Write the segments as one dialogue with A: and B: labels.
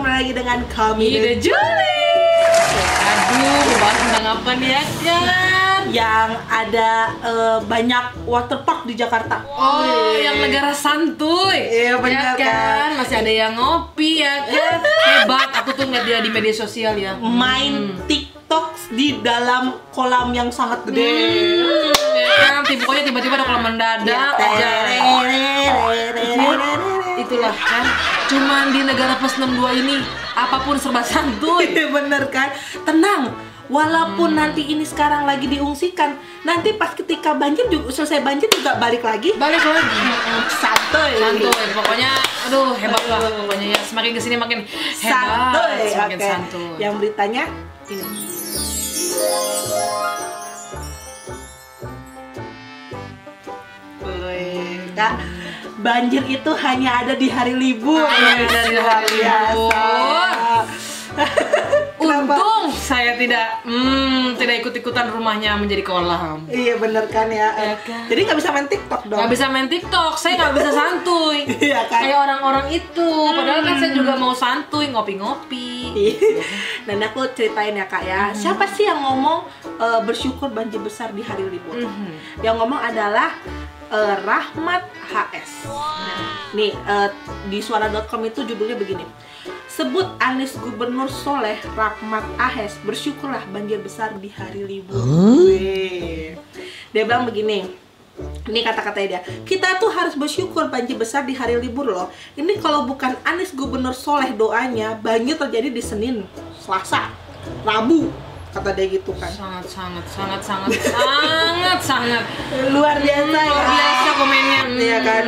A: lagi dengan kami
B: Ida Juli. Aduh, membahas tentang apa nih ya kan?
A: yang ada eh, banyak waterpark di Jakarta.
B: Oh, yang negara santuy.
A: Iya,
B: ya
A: benar, kan?
B: kan? Masih ada yang ngopi ya kan? Hebat, aku tuh ngeliat dia di media sosial ya.
A: Main TikTok di dalam kolam yang sangat gede.
B: Hmm, ya kan? Tiba- Pokoknya tiba-tiba ada kolam
A: Iya,
B: mendadak aja. Itulah kan, cuman di negara plus 62 ini apapun serba santuy.
A: Iya, Bener kan? Tenang, walaupun nanti ini sekarang lagi diungsikan, nanti pas ketika banjir juga selesai banjir juga balik lagi.
B: Balik lagi.
A: Santai.
B: santuy pokoknya aduh hebat lah pokoknya ya semakin kesini makin hebat
A: santuy,
B: semakin
A: oke. Ya,
B: santuy
A: Yang beritanya
B: Ini.
A: Kak, banjir itu hanya ada di hari libur.
B: Hanya ada di hari
A: Luar
B: libur.
A: biasa. Kenapa?
B: untung saya tidak hmm, tidak ikut ikutan rumahnya menjadi kolam
A: Iya bener kan ya.
B: Iya kan?
A: Jadi nggak bisa main TikTok dong.
B: nggak bisa main TikTok saya nggak bisa santuy
A: Iya Hmm. kan?
B: kayak orang-orang itu padahal kan saya juga mau santuy
A: Iya.
B: ngopi-ngopi
A: Dan aku ceritain ya kak
B: Hmm.
A: ya. Siapa sih yang ngomong eh, bersyukur banjir besar di hari libur?
B: Mhm.
A: Yang ngomong adalah eh, Rahmat HS. Nih eh, di suara.com itu judulnya begini. Sebut Anies Gubernur Soleh Rahmat Ahes bersyukurlah banjir besar di hari libur. Weh. Dia bilang begini. Ini kata-katanya dia. Kita tuh harus bersyukur banjir besar di hari libur loh. Ini kalau bukan Anies Gubernur Soleh doanya, banjir terjadi di Senin, Selasa, Rabu, kata dia gitu kan.
B: sangat sangat sangat sangat sangat sangat Hmm,
A: Luar biasa
B: luar
A: ya.
B: biasa komennya Hmm.
A: Iya kan?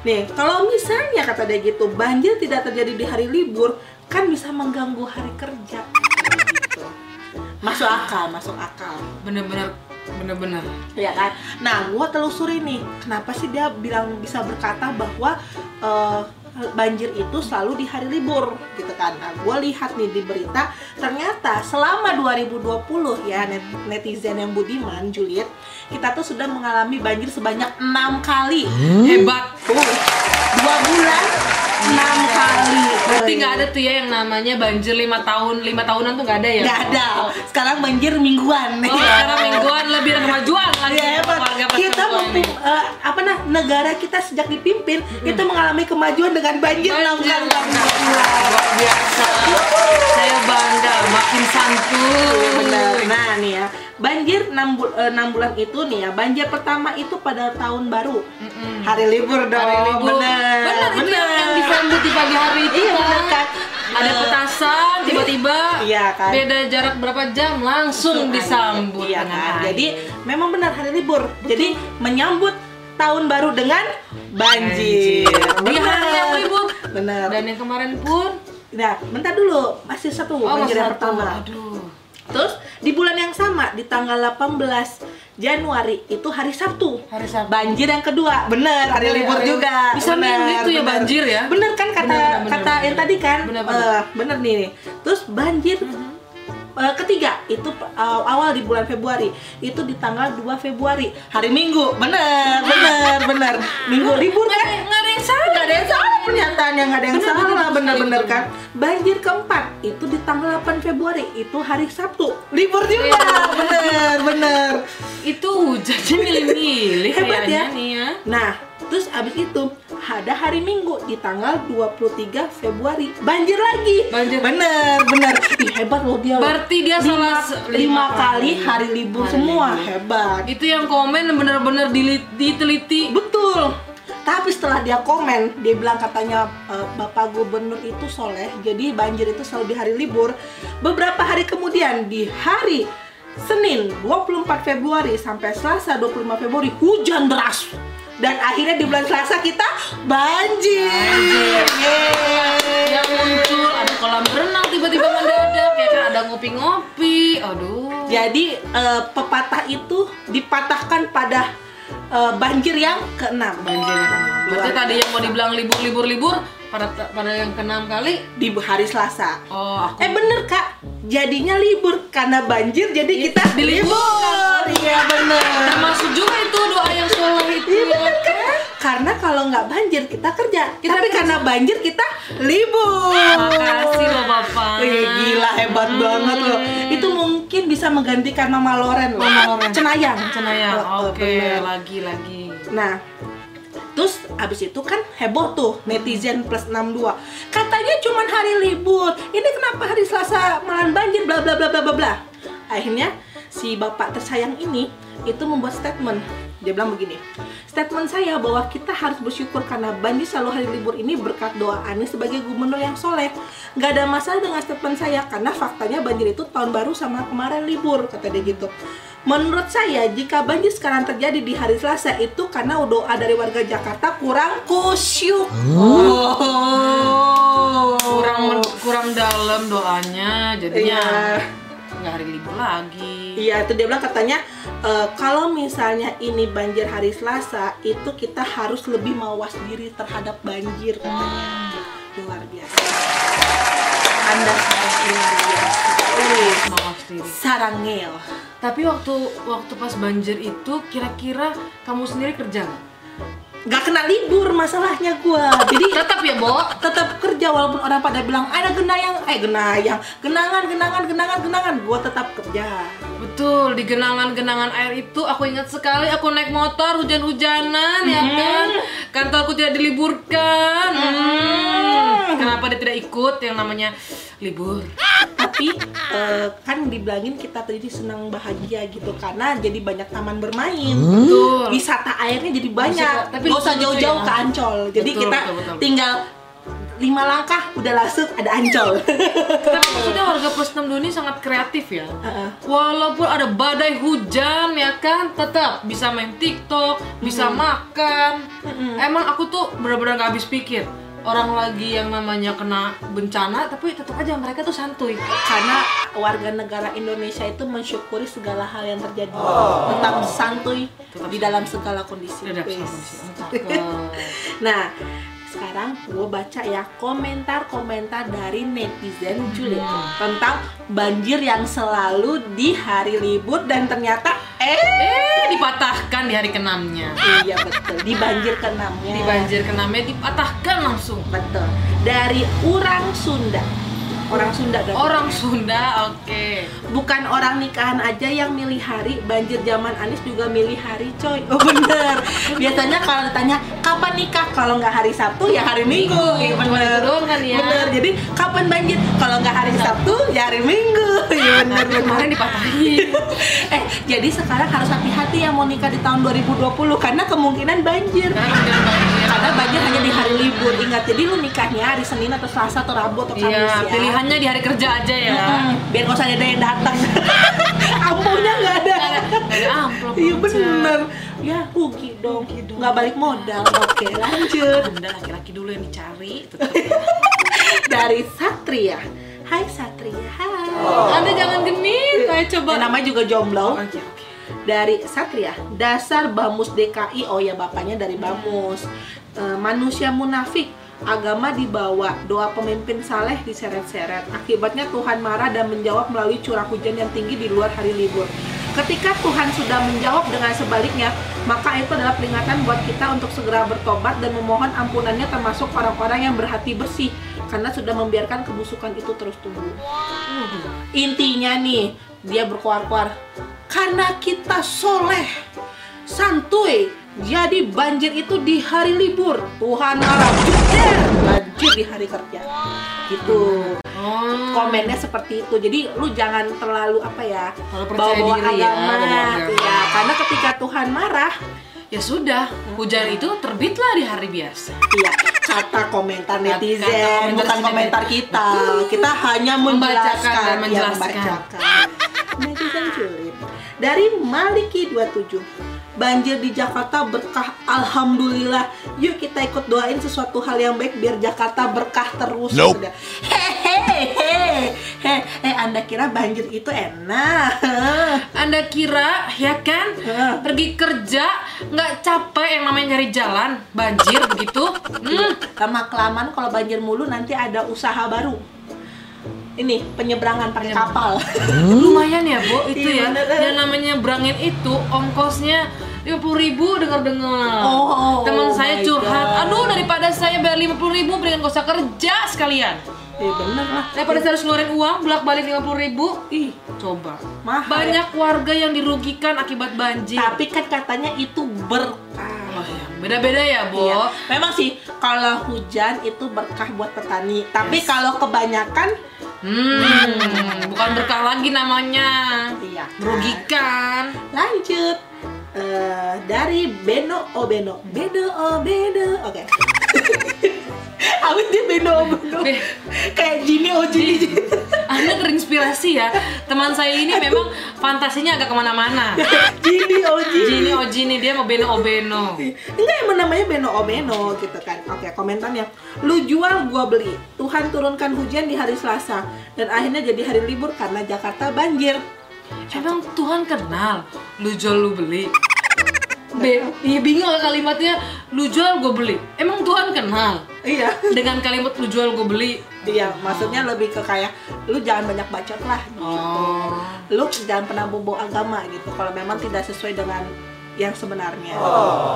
A: Nih, kalau misalnya kata dia gitu, banjir tidak terjadi di hari libur, kan bisa mengganggu hari kerja. Gitu. Masuk akal, masuk akal.
B: Hmm, bener-bener bener-bener
A: Ya kan? Nah, gua telusuri nih, kenapa sih dia bilang bisa berkata bahwa eh, banjir itu selalu di hari libur gitu kan. Nah, gua lihat nih di berita, ternyata selama 2020 ya net- netizen yang budiman Juliet, kita tuh sudah mengalami banjir sebanyak enam kali.
B: hebat
A: dua bulan enam kali
B: Berarti nggak ada tuh ya yang namanya banjir lima tahun, lima tahunan tuh nggak ada ya?
A: nggak ada sekarang banjir mingguan
B: Oh, sekarang mingguan lebih ada kemajuan lagi
A: Ya,
B: untuk gitu,
A: hebat.
B: keluarga pas
A: kita
B: perempuan
A: mempim,
B: ini.
A: eh, apa nah negara kita sejak dipimpin itu mengalami kemajuan dengan banjir enam
B: Hmm. Banjir. Nah,
A: kali dalam dua bulan.
B: luar biasa. Saya bangga, makin santuy.
A: Benar. Nah nih ya banjir 6, bulan itu nih ya banjir pertama itu pada tahun baru
B: Mm-mm.
A: hari libur dong
B: Hari libur.
A: bener
B: Benar, itu yang- yang disambut di pagi hari itu
A: Oh, Iya, benar, Kak.
B: Ada
A: Eh,
B: petasan, tiba-tiba
A: Iya, kan.
B: beda jarak berapa jam langsung disambut
A: Iya
B: dengan
A: kan?
B: air.
A: Jadi memang benar hari libur. Jadi menyambut tahun baru dengan banjir.
B: Banjir. Di hari yang libur.
A: Benar.
B: dan yang kemarin pun
A: Nah, bentar dulu, masih satu banjir
B: Oh, satu.
A: yang pertama.
B: Aduh.
A: Terus di bulan yang sama di tanggal 18 Januari itu hari Sabtu.
B: Hari Sabtu.
A: Banjir yang kedua. Bener, hari
B: Hari-
A: libur
B: hari-
A: juga.
B: Bisa
A: Bener,
B: main gitu ya,
A: bener.
B: banjir ya?
A: Bener kan kata
B: Bener, bener,
A: kata
B: bener,
A: yang
B: bener.
A: tadi kan?
B: Bener,
A: Bener,
B: bener. Mhm.
A: bener nih, nih. Terus banjir eh, ketiga itu eh, awal di bulan Februari itu di tanggal 2 Februari hari Minggu bener bener bener Minggu libur
B: Nggak
A: kan
B: ada- nggak ada yang salah.
A: nggak ada yang salah pernyataan yang nggak ada yang
B: Bener,
A: salah
B: bener,
A: bener-bener
B: bener.
A: kan banjir keempat itu di tanggal 8 Februari itu hari Sabtu libur juga
B: Iya.
A: bener bener
B: itu hujannya milih-milih
A: Hebat
B: kayaknya
A: ya.
B: nih ya
A: nah terus abis itu ada hari Minggu di tanggal 23 Februari banjir lagi
B: Banjir.
A: bener bener Ih, hebat loh dia loh.
B: Berarti dia salah
A: lima,
B: se-
A: lima kali hari libur
B: Hari
A: semua
B: libur.
A: hebat
B: itu yang komen bener-bener dili- diteliti
A: Betul. Tapi setelah dia komen, dia bilang katanya e, Bapak Gubernur itu soleh, jadi banjir itu selalu di hari libur. Beberapa hari kemudian di hari Senin 24 Februari sampai Selasa 25 Februari hujan deras. Dan akhirnya di bulan Selasa kita banjir. Yeay.
B: yang muncul ada kolam renang tiba-tiba mendadak ya kan ada ngopi-ngopi aduh
A: eh, Jadi e, pepatah itu dipatahkan pada eh, banjir yang keenam
B: banjir yang keenam. Berarti
A: Luar
B: tadi yang mau dibilang libur-libur-libur pada pada yang keenam kali
A: di hari Selasa.
B: oh aku
A: Eh bener kak, jadinya libur karena banjir jadi
B: Iya,
A: kita
B: dilibur.
A: Iya bener.
B: termasuk juga itu doa yang soleh itu
A: Iya
B: ya.
A: bener kan? Karena kalau nggak banjir kita kerja,
B: Kita
A: tapi
B: kerja.
A: karena banjir kita libur.
B: Makasih loh Bapak. Hmm.
A: Wih, gila hebat banget loh. Itu mungkin bisa menggantikan Mama Loren loh.
B: Mama Loren.
A: Cenayang.
B: Cenayang.
A: Oh,
B: ya.
A: oh,
B: Oke,
A: bener.
B: lagi lagi.
A: Nah, terus abis itu kan heboh tuh netizen plus 62 katanya cuman hari libur ini kenapa hari selasa malam banjir bla bla bla bla bla bla akhirnya si bapak tersayang ini itu membuat statement dia bilang begini statement saya bahwa kita harus bersyukur karena banjir selalu hari libur ini berkat doa Anies sebagai gubernur yang soleh nggak ada masalah dengan statement saya karena faktanya banjir itu tahun baru sama kemarin libur kata dia gitu Menurut saya, jika banjir sekarang terjadi di hari Selasa itu karena doa dari warga Jakarta kurang kusyuk.
B: Oh. Kurang kurang dalam doanya jadinya
A: Iya.
B: nggak hari libur lagi.
A: Iya, itu dia bilang katanya e, kalau misalnya ini banjir hari Selasa, itu kita harus lebih mawas diri terhadap banjir katanya. Luar biasa. Anda sangat luar biasa. ya. Wih,
B: Maaf diri.
A: Sarangeo.
B: Tapi waktu waktu pas banjir itu kira-kira kamu sendiri kerja nggak?
A: Gak kena libur masalahnya gua. Jadi
B: Tetap ya, Bo.
A: tetap kerja walaupun orang pada bilang ada genayang eh genayang genangan genangan genangan genangan gue tetap kerja
B: Betul, di genangan-genangan air itu aku ingat sekali aku naik motor hujan-hujanan ya kan. Kantorku tidak diliburkan. Hmm. Kenapa dia tidak ikut yang namanya libur?
A: tapi eh, kan dibilangin kita tadi senang bahagia gitu karena jadi banyak taman bermain
B: Betul.
A: wisata airnya jadi banyak
B: Bisa, tapi
A: nggak usah
B: lucu-lucu
A: jauh-jauh
B: ya.
A: ke Ancol jadi
B: Betul,
A: kita
B: betul, betul.
A: tinggal lima langkah udah langsung ada Ancol
B: Tapi maksudnya warga plus 62 ini sangat kreatif ya.
A: Heeh.
B: Walaupun ada badai hujan ya kan, tetap bisa main TikTok, bisa makan. Emang aku tuh benar-benar nggak habis pikir. Orang lagi yang namanya kena bencana, tapi tetap aja mereka tuh santuy.
A: karena warga negara Indonesia itu mensyukuri segala hal yang terjadi tetap santuy di dalam segala kondisi
B: Udah dapet
A: Wes.
B: sama sih. Oh, cakep.
A: Nah, sekarang gue baca ya komentar-komentar dari netizen Julia
B: Iya.
A: tentang banjir yang selalu di hari libur dan ternyata eh
B: Eh, dipatahkan di hari kenamnya.
A: iya betul di banjir keenamnya.
B: Di banjir kenamnya dipatahkan langsung.
A: betul dari orang Sunda. Orang Sunda gak?
B: Orang Sunda, oke.
A: bukan orang nikahan aja yang milih hari banjir zaman Anies juga milih hari coy oh bener biasanya kalau ditanya kapan nikah kalau nggak hari Sabtu ya hari Minggu Iya,
B: Cuma itu doang kan ya?
A: bener jadi kapan banjir kalau nggak hari Sabtu ya hari Minggu Iya, bener
B: Tapi
A: bener.
B: Nah, kemarin dipatahin.
A: eh jadi sekarang harus hati-hati yang mau nikah di tahun 2020 karena kemungkinan banjir
B: Karena kan kemudian banjir.
A: karena banjir hanya di hari libur ingat jadi lu nikahnya hari Senin atau Selasa atau Rabu atau Kamis
B: Iya,
A: ya
B: pilihannya di hari kerja aja ya.
A: Hmm, biar gak usah ada yang datang ampunya nggak ada
B: Nggak ada amplop.
A: iya bener ya rugi dong nggak balik modal oke lanjut
B: Anda laki-laki dulu yang dicari.
A: dari Satria Hai Satria Hai
B: Anda jangan genit, saya Oh. coba.
A: Ya, namanya juga jomblo
B: Oke, oke.
A: dari Satria dasar Bamus DKI oh ya bapaknya dari Bamus Eh, manusia munafik agama dibawa doa pemimpin saleh diseret-seret akibatnya Tuhan marah dan menjawab melalui curah hujan yang tinggi di luar hari libur ketika Tuhan sudah menjawab dengan sebaliknya maka itu adalah peringatan buat kita untuk segera bertobat dan memohon ampunannya termasuk orang-orang yang berhati bersih karena sudah membiarkan kebusukan itu terus tumbuh intinya nih dia berkuar-kuar karena kita soleh santuy jadi banjir itu di hari libur Tuhan malah jeder banjir di hari kerja gitu
B: Oh,
A: komennya seperti itu jadi lu jangan terlalu apa ya
B: Terlalu percaya
A: bawa-bawa
B: diri ya,
A: agama
B: bawa-bawa agama.
A: Iya, karena ketika Tuhan marah
B: ya sudah, hujan itu terbitlah di hari biasa.
A: Iya, kata komentar
B: Kata-
A: netizen,
B: kata komentar
A: bukan
B: netizen.
A: komentar kita. Kita hanya
B: Membacakan
A: menjelaskan,
B: dan
A: ya,
B: menjelaskan.
A: membacakan. netizen julid. Dari Maliki 27. Banjir di Jakarta berkah Alhamdulillah Yuk kita ikut doain sesuatu hal yang baik Biar Jakarta berkah terus
C: Nope.
A: Sudah. Hehe hehehe Heh, eh anda kira banjir itu enak
B: Anda kira ya kan
A: Heeh.
B: pergi kerja nggak capek yang namanya nyari jalan banjir begitu? Hmm.
A: lama kelamaan kalau banjir mulu nanti ada usaha baru ini penyeberangan pakai kapal
B: Lumayan ya, Bu, itu
A: Hmm? Iya,
B: ya.
A: beneran.
B: Yang namanya berangin itu ongkosnya 50.000 ribu dengar-dengar.
A: Oh, oh,
B: Teman
A: oh
B: saya
A: my
B: curhat,
A: God.
B: aduh daripada saya bayar 50.000 ribu mendingan gak usah kerja sekalian.
A: ya bener lah
B: Daripada saya harus ngeluarin uang bolak-balik 50.000 ribu, ih coba.
A: Mahal. ya?
B: Banyak warga yang dirugikan akibat banjir.
A: tapi kan katanya itu berkah
B: Oh, iya. Beda-beda ya, Bu.
A: Iya. Memang sih kalau hujan itu berkah buat petani. Tapi
B: Yes.
A: kalau kebanyakan
B: Hmm, bukan berkah lagi namanya.
A: iya.
B: Merugikan.
A: Lanjut Eh, dari Beno Obeno. Beno Obeno. Oke. Awet dia Beno Obeno.
B: Be-
A: Kayak Jini oh Jini.
B: Anda terinspirasi ya. Teman saya ini memang fantasinya agak kemana-mana.
A: Jini oh Jini.
B: Jini Ojini dia mau beno obeno.
A: Enggak emang namanya Beno Obeno gitu kan Oke komentarnya Lu jual gua beli Tuhan turunkan hujan di hari Selasa Dan akhirnya jadi hari libur karena Jakarta banjir
B: Emang Tuhan kenal. Lu jual lu beli. Be iya bingung lah kalimatnya. Lu jual gue beli. Emang Tuhan kenal.
A: Iya
B: Dengan kalimat lu jual gue beli.
A: Iya, maksudnya lebih ke kayak lu jangan banyak bacot lah. gitu.
B: Oh.
A: Lu jangan pernah bobo agama gitu kalau memang tidak sesuai dengan yang sebenarnya.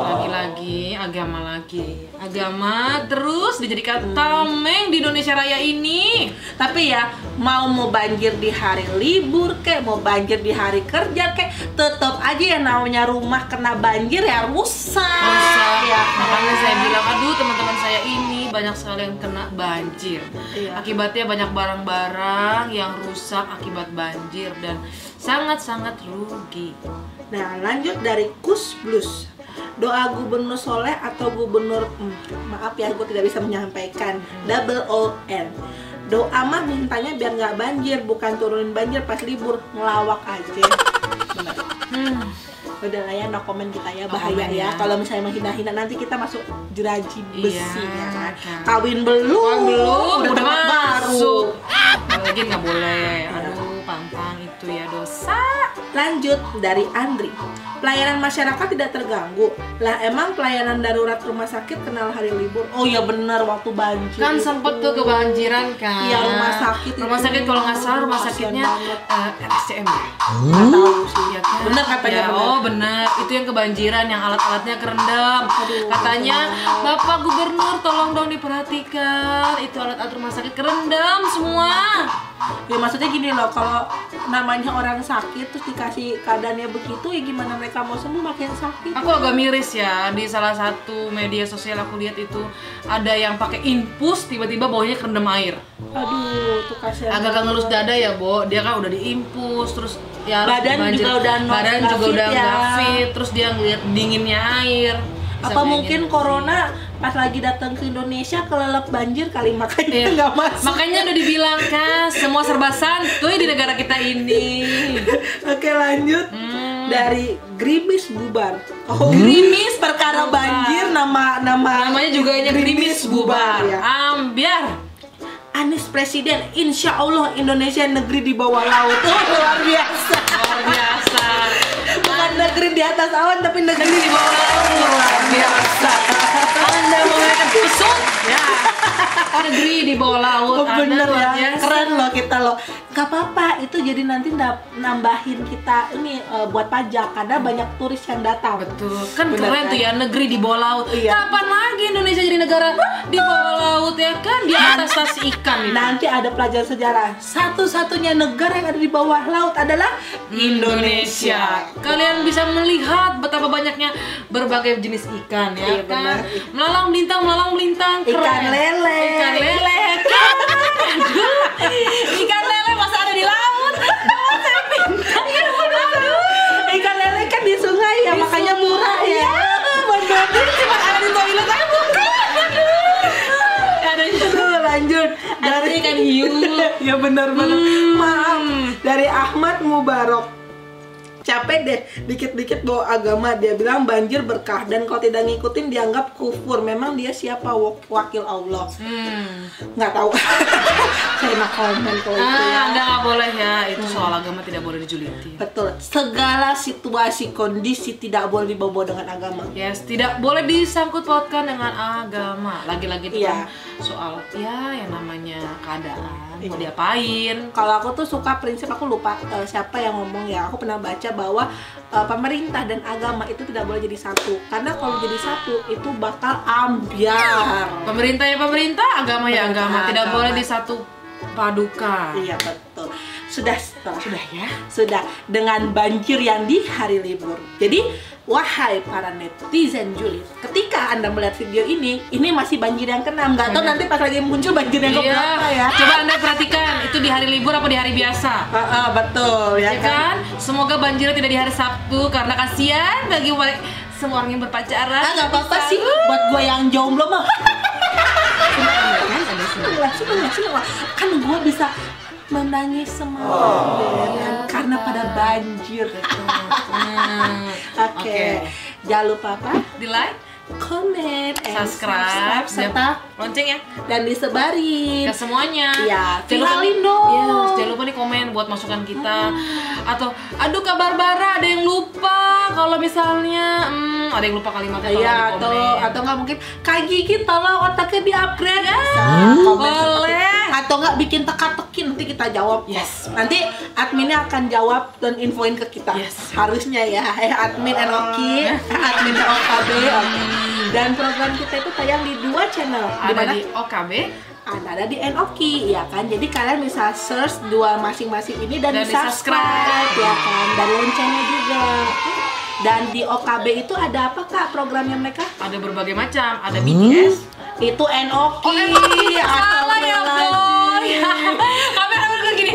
B: Lagi-lagi agama lagi. Agama terus dijadikan tameng di Indonesia Raya ini.
A: Tapi ya mau mau banjir di hari libur kek, mau banjir di hari kerja kek, tetap aja yang namanya rumah kena banjir ya rusak.
B: Rusak.
A: Ya.
B: Makanya saya bilang, aduh teman-teman saya ini banyak sekali yang kena banjir.
A: Iya.
B: Akibatnya banyak barang-barang yang rusak akibat banjir dan sangat-sangat rugi.
A: Nah, lanjut dari Kus Blues. Doa Gubernur Soleh atau Gubernur hmm, maaf ya gue tidak bisa menyampaikan double O N. Doa mah mintanya biar nggak banjir, bukan turunin banjir pas libur ngelawak aja. Bener.
B: Hmm.
A: Udah lah ya, no comment kita ya
B: No
A: bahaya
B: comment
A: ya.
B: ya.
A: Kalau misalnya menghina-hina nanti kita masuk juraji besi
B: Iya,
A: ya kan.
B: kan.
A: Kawin belum,
B: Uang belum,
A: udah
B: udah
A: tempat Uh, baru.
B: masuk. Lagi nggak boleh. Aduh, pantang itu ya dosa.
A: Lanjut dari Andri. Pelayanan masyarakat tidak terganggu. Lah emang pelayanan darurat rumah sakit kenal hari libur? Oh ya benar waktu banjir.
B: kan
A: itu.
B: sempet tuh kebanjiran kan
A: Gitu. Iya, rumah sakit
B: rumah
A: itu.
B: sakit kalau nggak salah rumah
A: Kasian
B: sakitnya
A: banget.
B: eh, RSCM ya
A: Nggak tahu sih.
B: Iya kan?
A: Bener katanya
B: Ya,
A: bener.
B: oh bener itu yang kebanjiran yang alat-alatnya kerendam
A: Aduh,
B: katanya bapak gubernur tolong dong diperhatikan itu alat-alat rumah sakit kerendam semua
A: Ya maksudnya gini loh, kalau namanya orang sakit terus dikasih keadaannya begitu ya gimana mereka mau sembuh makin sakit.
B: aku agak miris ya di salah satu media sosial aku lihat itu ada yang pakai infus tiba-tiba bawahnya kerendam air
A: Aduh, tuh kasihan.
B: agak-agak ngelus dada ya Bo dia kan udah diimpus terus ya harus
A: Badan
B: dibanjir.
A: juga udah no-
B: badan juga
A: nggak fit
B: udah
A: ya.
B: nggak fit terus dia ngeliat dinginnya air Bisa
A: Apa
B: bayangin
A: mungkin
B: nggak sih?
A: corona pas lagi datang ke Indonesia kelelep banjir kali makanya
B: Iya.
A: nggak masuk.
B: makanya udah dibilang kan semua serba santuy di negara kita ini
A: Oke lanjut
B: Hmm.
A: dari gerimis bubar. Oh,
B: Gerimis Hmm?
A: perkara
B: bubar.
A: banjir nama nama
B: namanya juga hanya gerimis bubar
A: ya.
B: ambiar
A: Anies presiden, insya Allah Indonesia negeri di bawah laut. Oh, luar biasa.
B: luar biasa
A: Bukan negeri di atas awan tapi negeri di bawah laut. Luar biasa.
B: anda menggunakan kusut ya negeri di bawah laut
A: Oh,
B: Anda
A: bener
B: luar
A: ya,
B: biasa.
A: keren loh kita loh. Gak apa-apa, itu jadi nanti nda- nambahin kita ini eh, buat pajak karena banyak turis yang datang.
B: Hmm. Betul, kan
A: Bener
B: keren
A: kan?
B: tuh ya negeri di bawah laut.
A: Iya.
B: Kapan lagi Indonesia jadi negara di bawah laut ya kan? Di atas tas ikan itu.
A: Nanti ada pelajaran sejarah. Satu-satunya negara yang ada di bawah laut adalah Indonesia.
B: Kalian bisa melihat betapa banyaknya berbagai jenis ikan ya
A: Iya, benar.
B: kan. Melalang melintang, melalang melintang, keren.
A: Ikan lele.
B: Ikan lele. kan? Aduh. Ikan lele masa ada di laut. Saya minta. Aduh.
A: Ikan lele kan di sungai ya,
B: Di
A: makanya
B: sungai. Iya.
A: murah ya. Bener-bener cuma ada di toilet aja.
B: Ada
A: Aduh, lanjut dari
B: Ada ikan kan hiu. Hmm.
A: ya benar-benar. Maaf dari Ahmad Mubarok. capek deh dikit-dikit bawa agama dia bilang banjir berkah dan kalau tidak ngikutin dianggap kufur memang dia siapa Wak- wakil Allah
B: Hmm.
A: nggak tahu saya nak komen kalau itu ya
B: Ah, enggak, enggak boleh ya. Itu soal agama tidak boleh dijulitin.
A: betul segala situasi kondisi tidak boleh dibawa dengan agama
B: Yes, tidak boleh disangkut pautkan dengan agama. Lagi-lagi itu kan
A: Iya.
B: soal ya yang namanya keadaan, mau
A: Iya.
B: diapain.
A: kalau aku tuh suka prinsip aku lupa eh, siapa yang ngomong ya aku pernah baca bahwa eh, pemerintah dan agama itu tidak boleh jadi satu karena kalau jadi satu itu bakal ambiar
B: Pemerintah ya pemerintah, agama ya
A: Pemerintah
B: agama. Tidak
A: agama.
B: boleh disatu padukan.
A: iya betul sudah setelah
B: Sudah ya.
A: sudah dengan banjir yang di hari libur. Jadi, wahai para netizen Juli, ketika Anda melihat video ini, ini masih banjir yang keenam. Nggak tahu nanti pas lagi muncul banjir
B: Iya.
A: yang keberapa ya.
B: Coba Anda perhatikan, itu di hari libur apa di hari biasa?
A: Ah, ah, betul
B: Ya
A: ya,
B: kan? Semoga banjirnya tidak di hari Sabtu karena kasihan bagi wali- semua orang yang berpacaran.
A: Ah, nggak apa-apa sih buat gue yang jomblo mah.
B: Kan ada sih.
A: seneng lah, seneng lah, seneng lah. Kan gue bisa menangis semalam ya kan? karena pada banjir. Nah,
B: Hmm,
A: Oke, jangan lupa apa?
B: Di like,
A: Comment, and
B: subscribe,
A: Eh, serta
B: dan lonceng ya
A: dan disebarin.
B: ke semuanya.
A: Iya,
B: Jangan lupa
A: viralin
B: nih-
A: dong.
B: Yes, jangan lupa nih komen buat masukan kita. Atau aduh kabar bara ada yang lupa kalau misalnya hmm, ada yang lupa kalimatnya tolong
A: Iya
B: di
A: atau
B: komen. ya.
A: atau nggak mungkin Kak Gigi tolong otaknya di upgrade ya.
B: Hmm. boleh.
A: Atau nggak bikin teka-teki nanti kita jawab. kok.
B: Yes.
A: Nanti adminnya akan jawab dan infoin ke kita.
B: Yes.
A: Harusnya ya. Eh admin Enoki, admin OKB, oke. Dan program kita itu tayang di dua channel.
B: ada
A: Di mana?
B: di OKB
A: Ada, ada di Enoki, ya kan. Jadi kalian bisa search dua masing-masing ini dan,
B: Dan
A: di subscribe,
B: di-subscribe.
A: ya kan. Dan loncengnya juga. Dan di OKB itu ada apa kak programnya mereka?
B: ada berbagai macam, ada BTS.
A: itu Enoki
B: Oh, eh, salah ya, Boy. Kamera gue gini.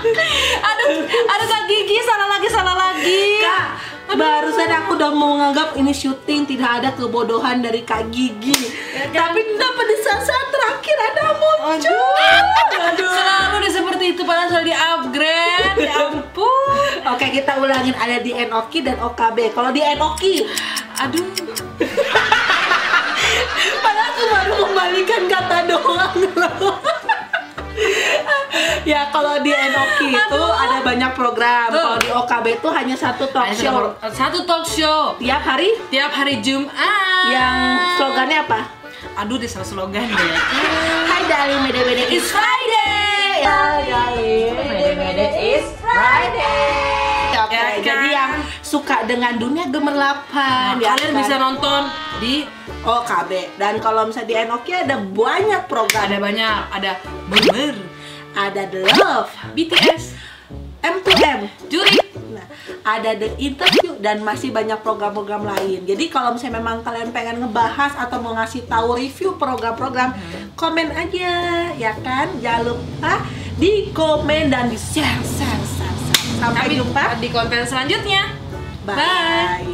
B: aduh, aduh Kak Gigi salah lagi, salah lagi.
A: Kak, barusan aku udah mau nganggap ini syuting tidak ada kebodohan dari Kak Gigi
B: Ya,
A: tapi kenapa di saat-saat terakhir ada muncul
B: Selalu udah seperti itu padahal sudah di upgrade. Ya ampun.
A: Oke kita ulangin ada di Enoki dan OKB Kalau di Enoki
B: Aduh.
A: Padahal aku baru membalikan kata doang loh ya kalau di Enoki itu ada banyak program
B: Tuh.
A: kalau di OKB itu hanya satu talk show
B: Satu talk show
A: tiap hari
B: tiap hari Jumat.
A: yang slogannya apa?
B: Aduh, dia salah slogan deh.
A: Hai Dali Mede Mede is Friday. Ya. Hai Dali Mede Mede is Friday. Oke,
B: Ya kan?
A: jadi yang suka dengan dunia gemerlapan,
B: Nah,
A: ya
B: Kalian
A: kan?
B: bisa nonton di
A: Oh KB. Dan kalau misalnya di Enoki ada banyak program.
B: ada banyak, ada Boomer,
A: Ada The Love,
B: BTS,
A: M2M,
B: Juri.
A: Nah, ada the interview dan masih banyak program-program lain. Jadi kalau misalnya memang kalian pengen ngebahas atau mau ngasih tahu review program-program, komen aja ya kan. Jangan lupa di komen dan di share, share, share, share. Sampai
B: Kami
A: jumpa.
B: di konten selanjutnya.
A: Bye.